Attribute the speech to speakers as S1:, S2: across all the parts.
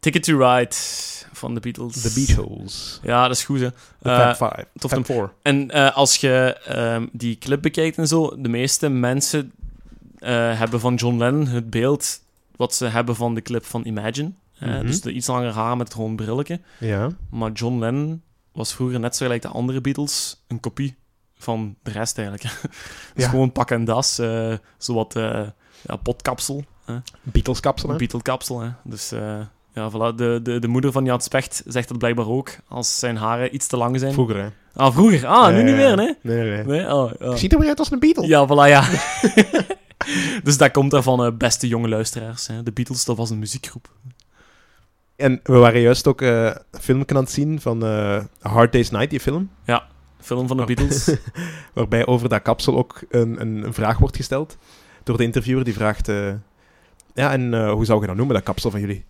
S1: Ticket to Ride van de Beatles.
S2: The Beach Holes.
S1: Ja, dat is goed, hè.
S2: De
S1: Eh,
S2: Fab Five.
S1: tof
S2: Fab Four.
S1: En eh, als je ehm, die clip bekijkt en zo, de meeste mensen eh, hebben van John Lennon het beeld wat ze hebben van de clip van Imagine. Eh,
S2: Mhm.
S1: Dus de iets langer haar met gewoon brilletje.
S2: Ja.
S1: Maar John Lennon was vroeger net zo gelijk de andere Beatles, een kopie van de rest eigenlijk. dus
S2: Ja.
S1: gewoon pak en das, eh zowat eh ja, potkapsel,
S2: Beatles kapsel. hè?
S1: Beatle-kapsel. hè. Dus eh, ja, voilà. de, de, de moeder van Jan Specht zegt dat blijkbaar ook, als zijn haren iets te lang zijn.
S2: Vroeger, hè?
S1: ah, vroeger. Ah, nu
S2: Ja,
S1: niet
S2: ja, ja.
S1: meer, hè?
S2: Nee, nee, nee.
S1: Nee? Oh, ja.
S2: Ziet er weer uit als een Beatle.
S1: Ja, voilà, ja. dus dat komt daarvan, eh, beste jonge luisteraars. Hè. De Beatles, dat was een muziekgroep.
S2: En we waren juist ook eh, een filmpje aan het zien van eh Hard Day's Night, die film.
S1: Film
S2: Oh.
S1: van de Beatles.
S2: Waarbij over dat kapsel ook een, een, een vraag wordt gesteld door de interviewer. Die vraagt... eh, ja, en eh, hoe zou je dat noemen, dat kapsel van jullie?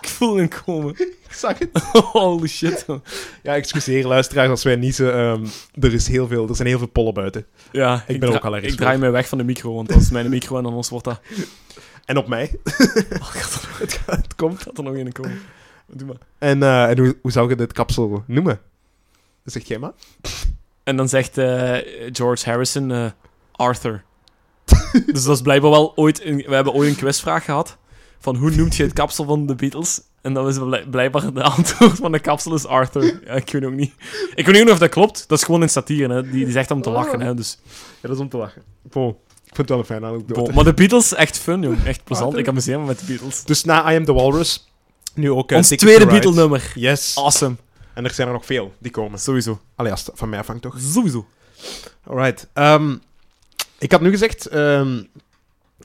S1: Ik voel hem komen.
S2: Ik zag het.
S1: Holy shit. man.
S2: Ja, excuseer luisteraars als wij niezen. ehm, er, is heel veel, er zijn heel veel pollen buiten.
S1: Ja, ik,
S2: ben
S1: dra-
S2: ook allergisch
S1: Ik draai
S2: voor.
S1: mij weg van de micro, want dat is mijn micro en anders wordt dat...
S2: En op mij.
S1: Oh, gaat, er,
S2: het, gaat- het komt.
S1: gaat er nog in komen. Doe maar.
S2: En, eh, en hoe, hoe zou je dit kapsel noemen? Dat zegt jij maar.
S1: En dan zegt eh, George Harrison eh, Arthur. dus dat is blijkbaar wel ooit... Een, we hebben ooit een quizvraag gehad van hoe noemt je het kapsel van de Beatles? En dat is bl- blijkbaar de antwoord van de kapsel is Arthur. Ja, ik weet ook niet. Ik weet niet of dat klopt. Dat is gewoon een satire. Hè. Die, die zegt om te lachen. Hè. Dus,
S2: Ja, dat is om te lachen. Bon. Ik vind het wel een fijne anekdote.
S1: bon. Maar de Beatles, echt fun, jong. Echt plezant.
S2: Arthur.
S1: Ik amuseer me met de Beatles.
S2: Dus na I Am The Walrus, nu ook... eh,
S1: Ons
S2: Ticket
S1: tweede
S2: to Ride.
S1: Beatle-nummer.
S2: Yes.
S1: Awesome.
S2: En er zijn er nog veel die komen.
S1: Sowieso.
S2: Allee, als het van mij afhangt toch?
S1: Sowieso.
S2: Alright. Ehm, ik had nu gezegd... ehm,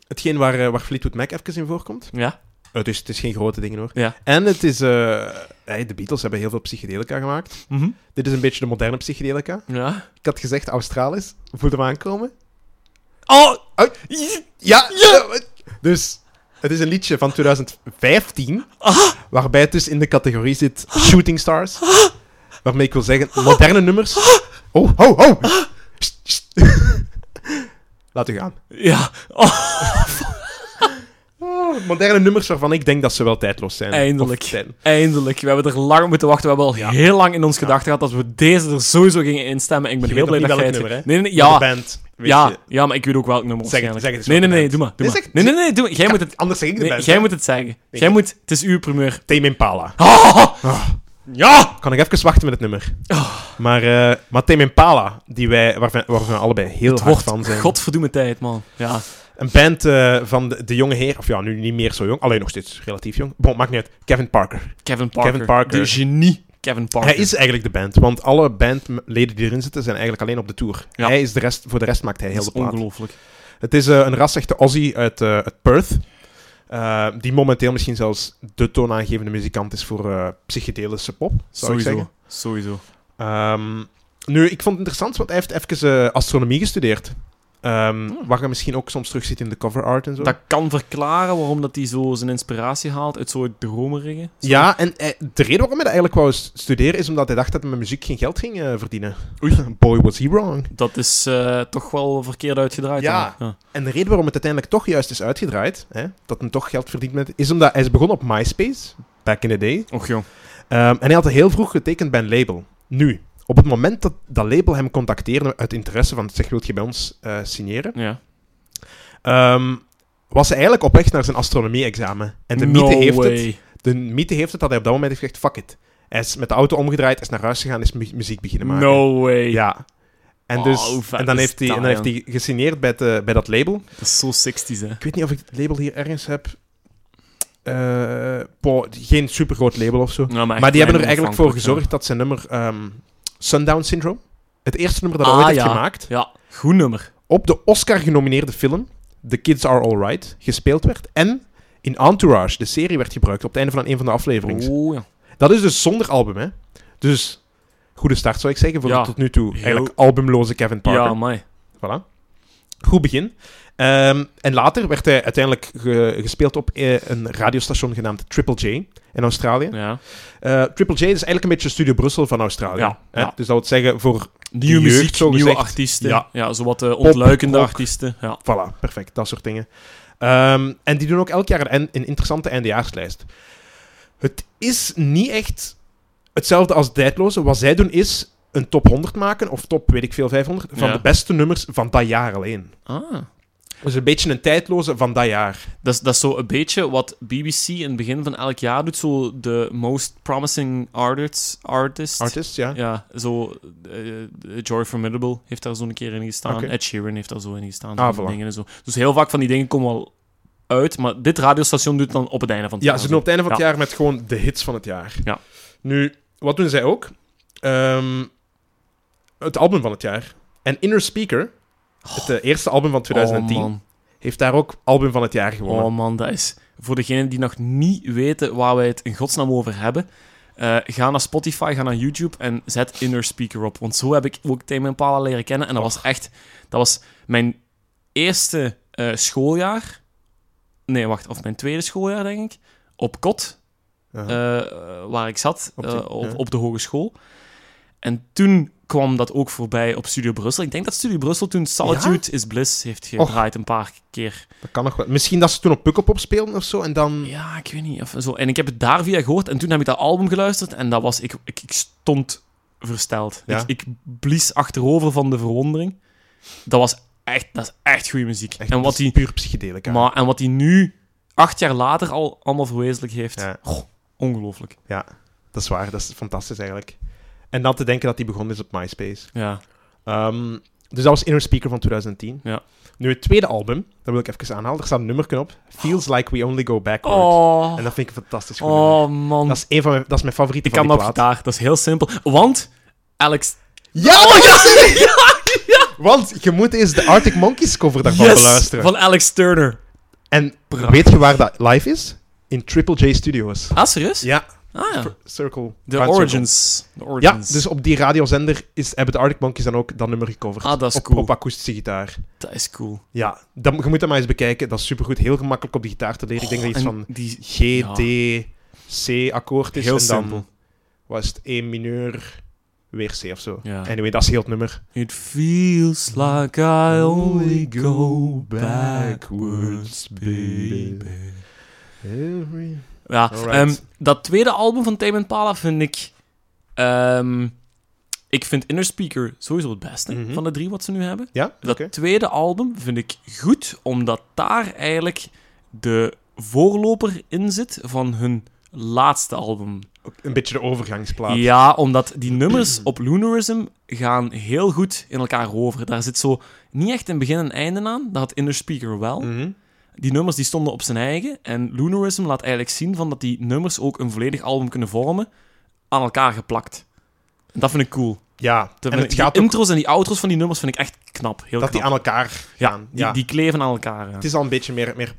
S2: hetgeen waar, eh, waar Fleetwood Mac even in voorkomt.
S1: Ja.
S2: Eh, dus het is geen grote dingen hoor.
S1: Ja.
S2: En het is... eh, hey, de Beatles hebben heel veel psychedelica gemaakt.
S1: Mhm.
S2: Dit is een beetje de moderne psychedelica.
S1: Ja.
S2: Ik had gezegd Australisch. Voel hem aankomen.
S1: Oh!
S2: Ui. Ja, ja! Dus het is een liedje van 2015,
S1: Ah.
S2: waarbij het dus in de categorie zit Shooting Stars. Waarmee ik wil zeggen, moderne nummers.
S1: Ah.
S2: Oh, ho, ho! Sst, sst. Laat u gaan.
S1: Ja. Oh,
S2: Moderne nummers waarvan ik denk dat ze wel tijdloos zijn.
S1: Eindelijk.
S2: Of zijn.
S1: Eindelijk. We hebben er lang op moeten wachten. We hebben al
S2: Ja.
S1: heel lang in ons gedachten gehad dat we deze er sowieso gingen instemmen. Ik ben
S2: Je
S1: heel
S2: weet
S1: blij dat
S2: nog
S1: jij
S2: niet
S1: het...
S2: welk
S1: ge-
S2: nummer, hè?
S1: Nee, nee, nee,
S2: De
S1: ja.
S2: band. weet
S1: Ja,
S2: je.
S1: ja, maar ik weet ook welk nummer
S2: Zeg het-
S1: waarschijnlijk.
S2: zeg het eens
S1: nee, nee,
S2: welke
S1: nee, doe
S2: band.
S1: maar. Doe
S2: Dit
S1: maar.
S2: is echt-
S1: nee, nee, nee, doe maar. Jij moet het,
S2: Anders zeg ik de
S1: nee,
S2: band.
S1: jij
S2: hè.
S1: moet het zeggen.
S2: Weet
S1: Jij
S2: ik.
S1: moet... Het is uw primeur.
S2: Tame Impala.
S1: Ah! Ja!
S2: Kan ik even wachten met het nummer.
S1: Oh.
S2: Maar, eh maar Tame Impala, die wij, waar, we, waar we allebei heel
S1: Het
S2: hard
S1: wordt
S2: van zijn.
S1: godverdomme tijd, man. Ja.
S2: Een band eh, van de, de jonge heer, of ja, nu niet meer zo jong, alleen nog steeds relatief jong. Bon, maakt niet uit. Kevin Parker.
S1: Kevin Parker.
S2: Kevin Parker.
S1: De genie Kevin Parker.
S2: Hij is eigenlijk de band, want alle bandleden die erin zitten zijn eigenlijk alleen op de tour.
S1: Ja.
S2: Hij is de rest, voor de rest maakt hij heel
S1: Dat is
S2: de plaat.
S1: ongelooflijk.
S2: Het is eh, een rasechte Aussie uit, eh, uit Perth, eh, die momenteel misschien zelfs de toonaangevende muzikant is voor eh, psychedelische pop, zou ik zeggen.
S1: Sowieso. Sowieso.
S2: Ehm, nu, ik vond het interessant, want hij heeft even eh, astronomie gestudeerd. Ehm,
S1: Hmm.
S2: Waar je misschien ook soms terug ziet in de cover art en zo.
S1: Dat kan verklaren waarom dat hij zo zijn inspiratie haalt uit zo'n dromerige.
S2: Ja, en eh, de reden waarom hij dat eigenlijk wou s- studeren is omdat hij dacht dat hij met muziek geen geld ging eh, verdienen. Boy, was he wrong.
S1: Dat is eh, toch wel verkeerd uitgedraaid.
S2: Ja.
S1: dan. ja.
S2: En de reden waarom het uiteindelijk toch juist is uitgedraaid, hè, dat hij toch geld verdient met, is omdat hij is begonnen op MySpace, back in the day.
S1: Och jong.
S2: Ehm, en hij had heel vroeg getekend bij een label. Nu, op het moment dat dat label hem contacteerde uit interesse van, zeg, wilt je bij ons eh, signeren?
S1: Ja.
S2: Ehm, was hij eigenlijk op weg naar zijn astronomie-examen. En de mythe,
S1: No
S2: heeft het,
S1: way.
S2: de mythe heeft het dat hij op dat moment heeft gezegd, fuck it. Hij is met de auto omgedraaid, is naar huis gegaan, is mu- muziek beginnen maken.
S1: No way.
S2: Ja. En,
S1: Oh,
S2: dus,
S1: hoe vet
S2: en dan,
S1: is
S2: heeft hij, en dan
S1: dat,
S2: heeft hij gesigneerd bij, het, eh, bij dat label.
S1: Dat is zo 60s, hè.
S2: Ik weet niet of ik het label hier ergens heb. Eh, boh, geen supergroot label of zo.
S1: Ja, maar echt
S2: maar die hebben
S1: klein
S2: er eigenlijk voor
S1: onafhankelijk,
S2: gezorgd dat zijn nummer ehm, Sundown Syndrome, het eerste nummer dat hij
S1: Ah,
S2: ooit heeft
S1: ja.
S2: gemaakt,
S1: Ja, Ja, goed nummer.
S2: op de Oscar-genomineerde film The Kids Are Alright gespeeld werd. En in Entourage, de serie, werd gebruikt op het einde van een van de afleveringen.
S1: Oh, ja.
S2: Dat is dus zonder album, hè? Dus goede start zou ik zeggen voor
S1: Ja.
S2: de tot nu toe
S1: Heel-
S2: eigenlijk albumloze Kevin Parker.
S1: Ja, mij.
S2: Voilà. Goed begin. Ehm, en later werd hij uiteindelijk ge- gespeeld op eh, een radiostation genaamd Triple J in Australië.
S1: Ja.
S2: Eh, Triple J is eigenlijk een beetje Studio Brussel van Australië.
S1: Ja,
S2: hè?
S1: ja.
S2: Dus dat wil zeggen voor...
S1: Nieuwe
S2: jeugd,
S1: muziek,
S2: zo
S1: nieuwe
S2: gezegd.
S1: artiesten.
S2: Ja.
S1: Ja, zowat eh, ontluikende
S2: rock.
S1: artiesten. Ja.
S2: Voilà, perfect, dat soort dingen. Ehm, en die doen ook elk jaar een, en- een interessante eindejaarslijst. Het is niet echt hetzelfde als Deadlozen. Wat zij doen is een top 100 maken, of top, weet ik veel, 500, van
S1: Ja.
S2: de beste nummers van dat jaar alleen.
S1: Ah.
S2: Dus een beetje een tijdloze van dat jaar.
S1: Dat is, dat is zo een beetje wat BBC in het begin van elk jaar doet. Zo de most promising artists, artist.
S2: Artist, ja.
S1: Ja, zo eh, eh, Joy Formidable heeft daar zo'n keer in gestaan.
S2: Oké.
S1: Ed Sheeran heeft daar zo in gestaan.
S2: Ah,
S1: zo'n
S2: voilà.
S1: dingen en zo. Dus heel vaak van die dingen komen wel uit. Maar dit radiostation doet het dan op het einde van het
S2: Ja,
S1: jaar.
S2: ze doen op het einde van het
S1: Ja.
S2: jaar met gewoon de hits van het jaar.
S1: Ja.
S2: Nu, wat doen zij ook? Ehm, het album van het jaar. En Inner Speaker, het eh, eerste album van 2010,
S1: Oh man.
S2: heeft daar ook album van het jaar gewonnen.
S1: oh man, dat is... Voor degenen die nog niet weten waar wij het in godsnaam over hebben... eh, ga naar Spotify, ga naar YouTube en zet Inner Speaker op. Want zo heb ik ook Tame Impala leren kennen. En dat was echt... Dat was mijn eerste eh, schooljaar. Nee, wacht. Of mijn tweede schooljaar, denk ik. Op kot.
S2: Ja.
S1: eh, eh, waar ik zat,
S2: Op
S1: op
S2: de-
S1: de, op,
S2: ja.
S1: op de hogeschool. En toen kwam dat ook voorbij op Studio Brussel. Ik denk dat Studio Brussel toen Solitude is Bliss heeft gedraaid een paar keer.
S2: dat kan nog wel. Misschien dat ze toen op Pukkelpop speelden of zo, en dan...
S1: Ja, ik weet niet. Of zo. En ik heb het daar via gehoord en toen heb ik dat album geluisterd en dat was... Ik, ik, ik stond versteld.
S2: Ja.
S1: Ik, ik blies achterover van de verwondering. Dat was echt, dat is echt goede muziek.
S2: Echt,
S1: en,
S2: dat
S1: wat
S2: is
S1: die,
S2: Puur psychedelica.
S1: maar, en wat die nu, acht jaar later, al allemaal verwezenlijk heeft.
S2: Ja.
S1: Goh, ongelooflijk.
S2: Dat is waar, dat is fantastisch eigenlijk. En dan te denken dat die begonnen is op MySpace.
S1: Ja.
S2: Ehm, dus dat was Inner Speaker van 2010.
S1: Ja.
S2: Nu, het tweede album, dat wil ik even aanhalen. Er staat een nummerken op. Feels Like We Only Go Backwards.
S1: Oh.
S2: En dat vind ik een fantastisch goed nummer.
S1: Oh man,
S2: Dat is, een van mijn, dat is mijn favoriete
S1: ik kan
S2: van
S1: dat
S2: die
S1: op
S2: plaat.
S1: gitaar. Dat is heel simpel. Want Alex...
S2: Ja, oh, ja, Want je moet eens de Arctic Monkeys cover daarvan
S1: Yes!
S2: beluisteren.
S1: Van Alex Turner.
S2: En
S1: Prachtig.
S2: weet je waar dat live is? In Triple J Studios.
S1: Ah, serieus?
S2: Ja.
S1: Ah ja.
S2: Circle.
S1: De
S2: Round
S1: origins. De
S2: Circle. Ja,
S1: origins.
S2: dus op die radiozender is, hebben de Arctic Monkeys dan ook dat nummer gecoverd.
S1: Ah, dat is
S2: op,
S1: cool.
S2: Op akoestische gitaar.
S1: Dat is cool.
S2: Ja, dat, je moet dat maar eens bekijken. Dat is supergoed. Heel gemakkelijk op de gitaar te leren. Ik denk dat iets
S1: Oh, En
S2: van
S1: Die...
S2: G, D, C akkoord is.
S1: Heel
S2: en dan
S1: simpel.
S2: was het E mineur, weer C of zo.
S1: Ja.
S2: Anyway, dat is heel het nummer.
S1: It feels like I only go backwards, baby. Ja,
S2: Alright.
S1: ehm, dat tweede album van Tame Impala vind ik... ehm, ik vind Inner Speaker sowieso het beste
S2: Mhm.
S1: van de drie wat ze nu hebben.
S2: Ja, oké.
S1: Dat tweede album vind ik goed, omdat daar eigenlijk de voorloper in zit van hun laatste album.
S2: Een beetje de overgangsplaat.
S1: Ja, omdat die nummers op Lunarism gaan heel goed in elkaar over. Daar zit zo niet echt een begin en einde aan. Dat had Inner Speaker wel.
S2: Mhm.
S1: Die nummers die stonden op zijn eigen. En Lunarism laat eigenlijk zien van dat die nummers ook een volledig album kunnen vormen. Aan elkaar geplakt. En dat vind ik cool.
S2: Ja,
S1: Dat
S2: en
S1: vind
S2: het
S1: ik- die
S2: gaat ook
S1: intro's en die outro's van die nummers vind ik echt knap. Heel
S2: dat die
S1: knap.
S2: aan elkaar gaan.
S1: die, die kleven aan elkaar. ja.
S2: Het is al een beetje meer, meer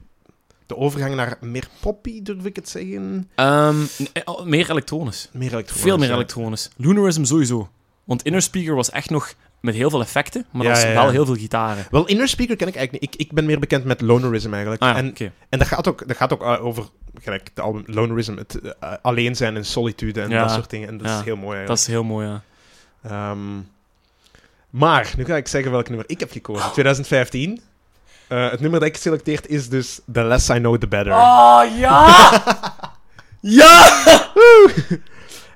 S2: de overgang naar meer poppy, durf ik het zeggen.
S1: Ehm, nee, al- meer elektronisch.
S2: Meer elektronisch.
S1: Veel meer
S2: ja.
S1: elektronisch. Lunarism sowieso. Want Inner Speaker was echt nog met heel veel effecten, maar
S2: Ja,
S1: dat was
S2: ja, ja.
S1: wel heel veel gitaren.
S2: Wel, Inner Speaker ken ik eigenlijk niet. Ik, ik ben meer bekend met Lonerism eigenlijk.
S1: Ah ja,
S2: en,
S1: oké.
S2: en dat gaat ook, dat gaat ook eh, over gelijk, de album Lonerism. Het eh, alleen zijn en solitude en
S1: Ja.
S2: dat soort dingen. En dat
S1: Ja.
S2: is heel mooi
S1: Dat
S2: eigenlijk.
S1: is heel mooi, ja.
S2: Ehm, maar, nu ga ik zeggen welk nummer ik heb
S1: Oh.
S2: gekozen. 2015. Eh, het nummer dat ik geselecteerd is dus The Less I Know The Better.
S1: Oh,
S2: Ah,
S1: ja! ja!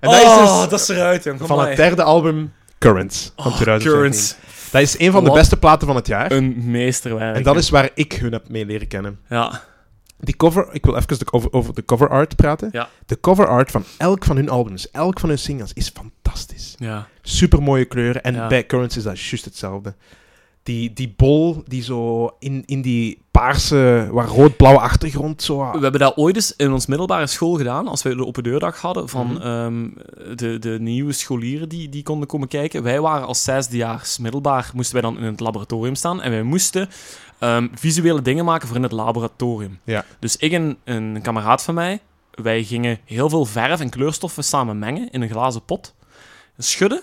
S2: en dat is dus
S1: dat is eruit, jong.
S2: van het derde album Currents van 2015.
S1: Oh, Currents.
S2: Dat is een van de
S1: Wat?
S2: beste platen van het jaar.
S1: Een meesterwerk.
S2: En dat is waar ik hun heb mee leren kennen.
S1: Ja.
S2: Die cover, ik wil even de cover, over de cover art praten.
S1: Ja.
S2: De cover art van elk van hun albums, elk van hun singles, is fantastisch.
S1: Ja.
S2: Super mooie kleuren. En
S1: Ja.
S2: bij Currents is dat juist hetzelfde. Die, die bol die zo in, in die paarse, waar rood-blauwe achtergrond zo. ah.
S1: We hebben dat ooit eens in ons middelbare school gedaan, als we de open deurdag hadden, van
S2: Mhm.
S1: ehm, de, de nieuwe scholieren die, die konden komen kijken. Wij waren als zesdejaars middelbaar, moesten wij dan in het laboratorium staan en wij moesten ehm, visuele dingen maken voor in het laboratorium.
S2: Ja.
S1: Dus ik en een kameraad van mij, wij gingen heel veel verf en kleurstoffen samen mengen in een glazen pot, schudden.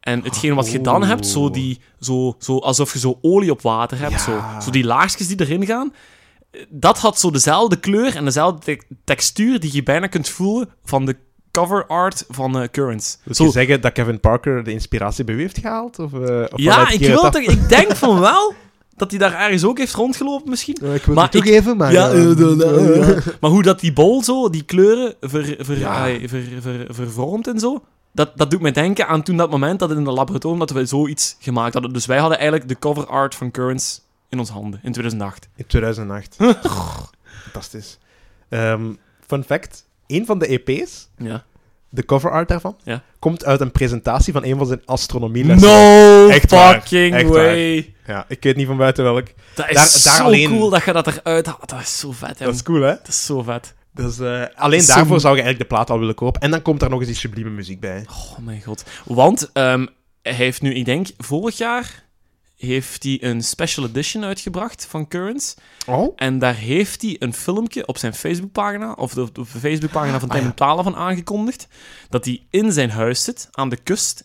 S1: En hetgeen wat je dan hebt, zo
S2: Oeh.
S1: die, zo, zo alsof je zo olie op water hebt,
S2: Ja.
S1: zo. zo die laagjes die erin gaan, dat had zo dezelfde kleur en dezelfde te- textuur die je bijna kunt voelen van de cover art van eh, Currents.
S2: Wil
S1: Zo-
S2: je zeggen dat Kevin Parker de inspiratie bij u heeft gehaald? Of, eh, of
S1: ja,
S2: vanuit
S1: ik,
S2: Gerrit
S1: wil
S2: af-
S1: toch, ik denk van wel. dat hij daar ergens ook heeft rondgelopen misschien.
S2: Ja, Eh, ik wil
S1: Maar
S2: het toegeven, maar...
S1: ja,
S2: eh,
S1: eh, eh, eh,
S2: eh,
S1: eh. Maar hoe dat die bol zo, die kleuren ver, ver,
S2: Ja.
S1: ai, ver, ver- vervormt en zo. Dat, dat doet mij denken aan toen dat moment dat in de laboratorium dat we zoiets gemaakt hadden. Dus wij hadden eigenlijk de cover art van Currents in ons handen in 2008.
S2: In 2008. Fantastisch. Ehm, fun fact. Een van de EP's,
S1: Ja.
S2: de cover art daarvan,
S1: Ja.
S2: komt uit een presentatie van een van zijn astronomielessen.
S1: No
S2: Echt waar,
S1: fucking
S2: echt waar.
S1: way.
S2: Ja, ik weet niet van buiten welk.
S1: Dat is
S2: Daar-
S1: zo
S2: daar alleen-
S1: cool dat je dat eruit haalt. Dat is zo vet, hè.
S2: Dat
S1: Dat
S2: is cool, hè?
S1: is zo vet.
S2: Dus, eh, alleen
S1: Zo'n-
S2: daarvoor zou je eigenlijk de plaat al willen kopen. En dan komt daar nog eens die sublieme muziek bij.
S1: Oh mijn god. Want ehm, hij heeft nu, ik denk, vorig jaar heeft hij een special edition uitgebracht van Currents.
S2: Oh?
S1: En daar heeft hij een filmpje op zijn Facebookpagina, of de, op de Facebookpagina van
S2: Ah, ja.
S1: Tim Talen van aangekondigd, dat hij in zijn huis zit, aan de kust,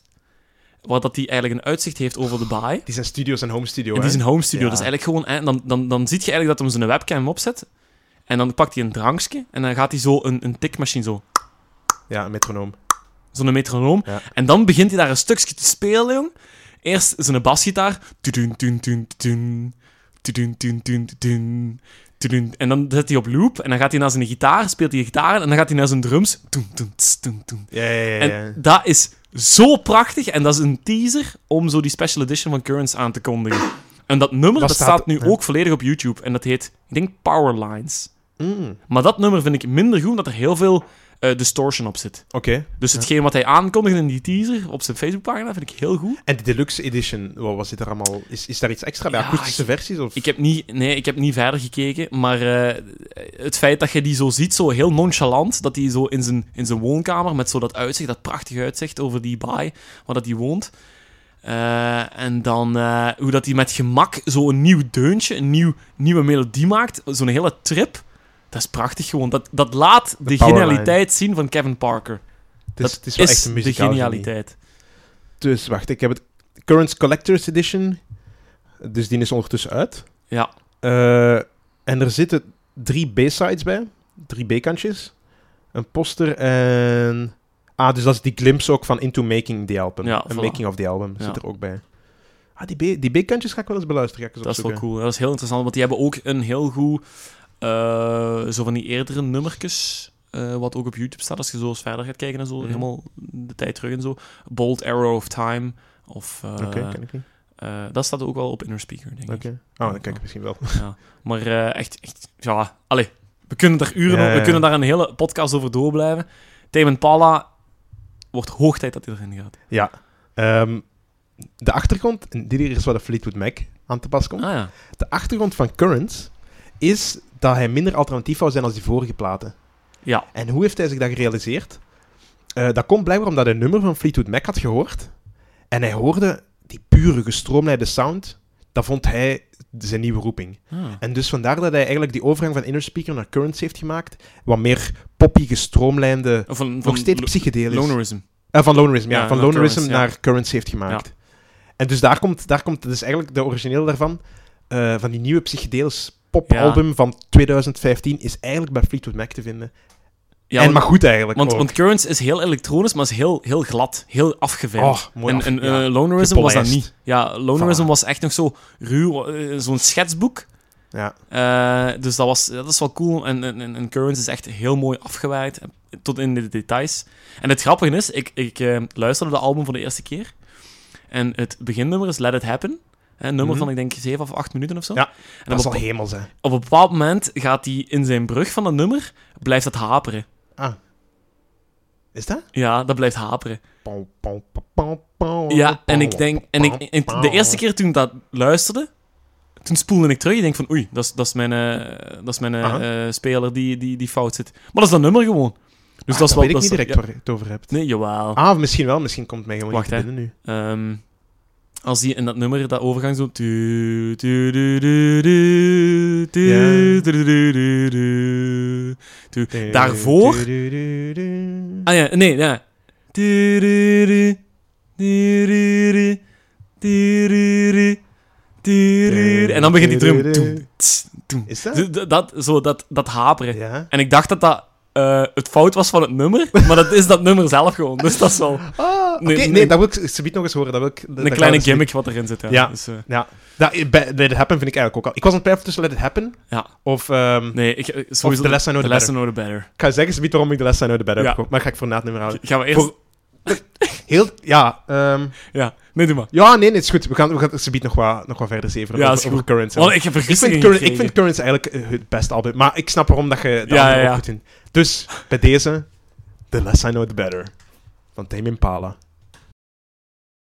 S1: waar dat hij eigenlijk een uitzicht heeft over de baai.
S2: Die zijn studio, zijn home studio,
S1: En die
S2: hè?
S1: is een home studio.
S2: Ja.
S1: Dat is eigenlijk gewoon... eh, Dan, dan, dan zie je eigenlijk dat hem zijn webcam opzet. En dan pakt hij een drankje. En dan gaat hij zo een, een tikmachine zo.
S2: Ja, een metronoom.
S1: Zo'n metronoom.
S2: Ja.
S1: En dan begint hij daar een stukje te spelen, jong. Eerst zijn basgitaar. Tudun, tudun, tudun, tudun. Tudun, tudun, tudun, tudun. Tudun. En dan zet hij op loop. En dan gaat hij naar zijn gitaar. Speelt hij de gitaar. En dan gaat hij naar zijn drums. Toen, toen, tss, toen, toen.
S2: Ja, ja, ja. ja.
S1: En dat is zo prachtig. En dat is een teaser om zo die special edition van Currents aan te kondigen. En dat nummer
S2: Dat
S1: dat staat,
S2: staat-
S1: nu
S2: ja.
S1: ook volledig op YouTube. En dat heet, ik denk, Power Lines.
S2: Mm,
S1: Maar dat nummer vind ik minder goed, omdat er heel veel eh, distortion op zit.
S2: Oké.
S1: Dus hetgeen wat hij aankondigde in die teaser op zijn Facebookpagina vind ik heel goed.
S2: En de deluxe edition, wat was dit er allemaal? Is, is daar iets extra bij?
S1: Ja,
S2: Akoestische versies? Of?
S1: Ik heb niet, nee, ik heb niet verder gekeken, maar eh, het feit dat je die zo ziet, zo heel nonchalant, dat hij zo in zijn, in zijn woonkamer met zo dat uitzicht, dat prachtig uitzicht over die baai waar dat hij woont. Eh, en dan eh, hoe dat hij met gemak zo'n nieuw deuntje, een nieuw, nieuwe melodie maakt, zo'n hele trip. Dat is prachtig gewoon. Dat, dat laat de,
S2: powerline.
S1: genialiteit zien van Kevin Parker.
S2: het
S1: dat
S2: is, het is wel echt een
S1: de
S2: muzikaal genie.
S1: genialiteit.
S2: Dus wacht, ik heb het Currents Collector's Edition. Dus die is ondertussen uit.
S1: Ja.
S2: Eh, en er zitten drie B-sides bij. Drie B-kantjes. Een poster en... Ah, dus dat is die glimpse ook van Into Making the Album.
S1: Ja,
S2: een
S1: voilà.
S2: making of the album
S1: Ja.
S2: zit er ook bij. Ah, die, B, die B-kantjes ga ik wel eens beluisteren. Ga ik eens
S1: Dat is wel
S2: opzoeken.
S1: cool. Dat is heel interessant, want die hebben ook een heel goed... eh, zo van die eerdere nummertjes, eh, wat ook op YouTube staat, als je zo eens verder gaat kijken en zo,
S2: Mhm.
S1: helemaal de tijd terug en zo. Bold Arrow of Time, of... eh,
S2: Oké, ken ik niet.
S1: eh, dat staat ook wel op Inner Speaker, denk ik.
S2: Oké. Oh, dan kijk ik misschien wel.
S1: Ja. Maar eh, echt, echt, ja, allee, we kunnen daar uren
S2: Ja,
S1: over-
S2: ja.
S1: we kunnen daar een hele podcast over doorblijven. Tame Pala wordt hoog tijd dat hij erin gaat.
S2: Ja. Ehm, de achtergrond, en dit hier is waar de Fleetwood Mac aan te pas komt.
S1: Ah ja.
S2: De achtergrond van Currents is dat hij minder alternatief zou zijn als die vorige platen.
S1: Ja.
S2: En hoe heeft hij zich dat gerealiseerd? Eh, dat komt blijkbaar omdat hij een nummer van Fleetwood Mac had gehoord. En hij hoorde die pure gestroomlijnde sound. Dat vond hij zijn nieuwe roeping.
S1: Ah.
S2: En dus vandaar dat hij eigenlijk die overgang van Inner Speaker naar Currents heeft gemaakt. Wat meer poppy gestroomlijnde,
S1: Van, van
S2: nog steeds
S1: Lo-
S2: psychedelisch.
S1: Lonerism.
S2: Eh, van Lonerism, ja.
S1: Ja,
S2: van
S1: naar
S2: Lonerism
S1: Currents, ja.
S2: naar Currents heeft gemaakt. En dus daar komt, daar komt, dat is eigenlijk de origineel daarvan, eh, van die nieuwe psychedelisch popalbum van 2015, is eigenlijk bij Fleetwood Mac te vinden.
S1: Ja,
S2: en
S1: want-
S2: maar goed eigenlijk
S1: Want,
S2: ook.
S1: want Currents is heel elektronisch, maar is heel, heel glad, heel afgewerkt.
S2: Oh, mooi
S1: en
S2: af-
S1: en eh,
S2: ja.
S1: Lonerism was dat
S2: Gepolijst.
S1: niet. Ja, Lonerism
S2: Voilà.
S1: was echt nog zo ruw, eh, zo'n schetsboek.
S2: ja.
S1: Eh, dus dat, was, dat is wel cool. En, en, en en Currents is echt heel mooi afgewerkt, eh, tot in de details. En het grappige is, ik, ik eh, luisterde het album voor de eerste keer. En het beginnummer is Let It Happen. Hè, Een nummer
S2: Mhm.
S1: van, ik denk, 7 of 8 minuten of zo.
S2: Ja,
S1: en
S2: Dat
S1: op,
S2: zal hemel zijn.
S1: op een bepaald moment gaat hij in zijn brug van dat nummer, blijft dat haperen.
S2: Ah. Is dat?
S1: Ja, dat blijft haperen.
S2: Pom, pom, pom, pom, pom,
S1: Ja, en ik
S2: pom,
S1: denk, en ik, en de eerste keer toen ik dat luisterde, toen spoelde ik terug. Ik denk van, oei, dat is, dat is mijn, eh, dat is mijn eh,
S2: Aha.
S1: eh, speler die, die, die fout zit. Maar dat is dat nummer gewoon. Dus
S2: Ah,
S1: dat is wel.
S2: weet ik
S1: dat
S2: niet
S1: is-
S2: direct
S1: ja.
S2: waar je het over hebt.
S1: Nee, jawel.
S2: Ah, misschien wel. Misschien komt het mij gewoon
S1: Wacht,
S2: niet
S1: hè.
S2: binnen nu.
S1: Ehm, als die in dat nummer, dat overgang zo... tu, tu, du, du, du, tu,
S2: Ja.
S1: du, du, du, du, du, tu. Daarvoor... Ah ja, nee, ja. Tuururu, tuururu, tuururu, tuururu. En dan begint die drum. Toem, tss, toem.
S2: Is dat?
S1: Dus d- Dat, zo, dat, dat haperen.
S2: Ja.
S1: En ik dacht dat dat eh, het fout was van het nummer, maar dat is dat nummer zelf gewoon. Dus dat is wel
S2: Ah,
S1: Nee,
S2: oké, nee,
S1: nee.
S2: dat wil ik subiet nog eens horen. Dat wil ik, dus dat- daar
S1: een
S2: gaan
S1: kleine
S2: we subiet-
S1: gimmick wat erin zit. Ja.
S2: Ja.
S1: Dus, eh,
S2: Ja. Dat, bij Let It Happen vind ik eigenlijk ook al... Ik was aan het twijfelen tussen Let It Happen
S1: Ja.
S2: of... ehm,
S1: nee, ik, eh, sowieso...
S2: The Less I Know,
S1: The
S2: The
S1: Less I Know The Better.
S2: Ik ga zeggen subiet waarom ik de les zijn uit de bed heb
S1: Ja.
S2: gekocht, maar ga ik voor na het nummer houden.
S1: Gaan we eerst...
S2: Voor- Heel... Ja, ehm,
S1: Ja, nee, doe maar.
S2: ja, nee, nee, het is goed. We gaan, we gaan het subiet nog wat, nog wat verder zeven
S1: Ja,
S2: over,
S1: is goed.
S2: over Currents.
S1: Want ik heb
S2: Ik vind,
S1: vergissingen
S2: Current, ik
S1: gekregen.
S2: vind Currents eigenlijk eh, het beste album. Maar ik snap waarom dat je dat
S1: Ja,
S2: album
S1: ja,
S2: ook
S1: ja.
S2: moet doen. Dus bij deze, The Less I Know The Better. Van Tame Impala.